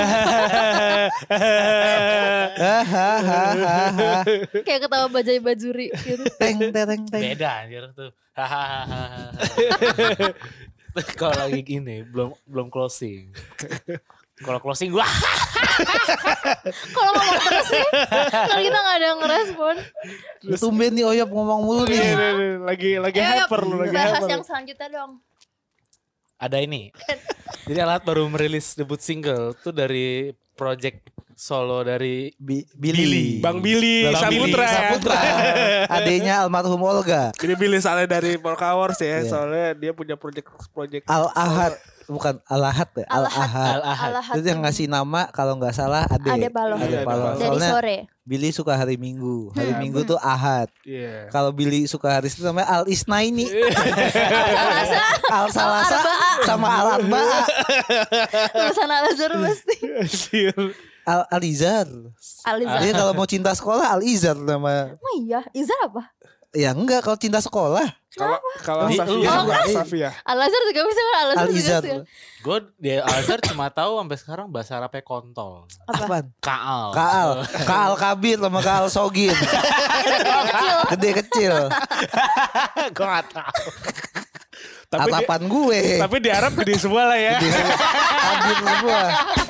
Speaker 4: Ah, Hahaha.
Speaker 1: Kayak ketawa bajai bajuri gitu.
Speaker 4: ah. Teng tereng teng
Speaker 3: beda anjir tuh hahaha kalau lagi gini belum belum closing kalau closing gua
Speaker 1: Kalau ngomong terus sih, kalau kita nggak ada yang ngerespon.
Speaker 4: Tumben nih Oyop ngomong mulu
Speaker 2: Iya,
Speaker 4: nih
Speaker 2: iya, iya, lagi lagi
Speaker 1: Ayo,
Speaker 2: hyper lu lagi
Speaker 1: Eh, bahas
Speaker 2: hyper.
Speaker 1: yang selanjutnya dong.
Speaker 3: ada ini jadi alat baru merilis debut single tuh dari project solo dari
Speaker 4: Bi- Billy
Speaker 2: Bang Billy
Speaker 3: Bang
Speaker 2: Saputra.
Speaker 3: Billy
Speaker 4: Saputra Adenya almarhum Olga
Speaker 2: Jadi Billy soalnya dari Polkawars ya,
Speaker 4: Iya.
Speaker 2: soalnya dia punya project project
Speaker 4: Al Ahad bukan Alahat ya, Al
Speaker 1: Alahat.
Speaker 4: Ahad.
Speaker 3: Al-Ahad.
Speaker 1: Alahat
Speaker 4: Itu yang ngasih nama kalau nggak salah Ade.
Speaker 1: Ade Paloh.
Speaker 4: Ade
Speaker 2: Iya,
Speaker 4: Paloh.
Speaker 2: Ade Paloh.
Speaker 1: dari
Speaker 4: Soalnya
Speaker 1: sore.
Speaker 4: Billy suka hari Minggu. Hari
Speaker 2: Hmm.
Speaker 4: Minggu tuh Ahad.
Speaker 2: Iya.
Speaker 4: Kalau Billy suka hari itu namanya Al Isnaini.
Speaker 1: Salasa
Speaker 4: Al Salasa sama Al Arba'a.
Speaker 1: lulusan Al Azhar pasti.
Speaker 2: Anjir.
Speaker 4: Al Alizar.
Speaker 1: Al Izar.
Speaker 4: Dia kalau mau cinta sekolah Al Izar nama.
Speaker 1: Oh iya, Izar apa?
Speaker 4: Ya enggak kalau cinta sekolah
Speaker 2: Kalau kalau
Speaker 3: Di-
Speaker 2: Safia,
Speaker 1: Oh,
Speaker 2: enggak,
Speaker 4: enggak.
Speaker 2: Safia.
Speaker 1: Al Azhar juga bisa kan? Al Azhar
Speaker 4: Al
Speaker 1: juga
Speaker 4: Izar.
Speaker 1: bisa.
Speaker 3: Gue di Al-Azhar cuma tahu sampai sekarang bahasa Arabnya kontol.
Speaker 1: Apa?
Speaker 4: Apaan?
Speaker 3: Kaal.
Speaker 4: Kaal, Kaal Kabir sama Kaal Sogin. Gede kecil.
Speaker 3: gue gak tau.
Speaker 2: Tapi di,
Speaker 4: Atapan gue.
Speaker 2: tapi di Arab gede semua lah ya.
Speaker 4: Kabir semua.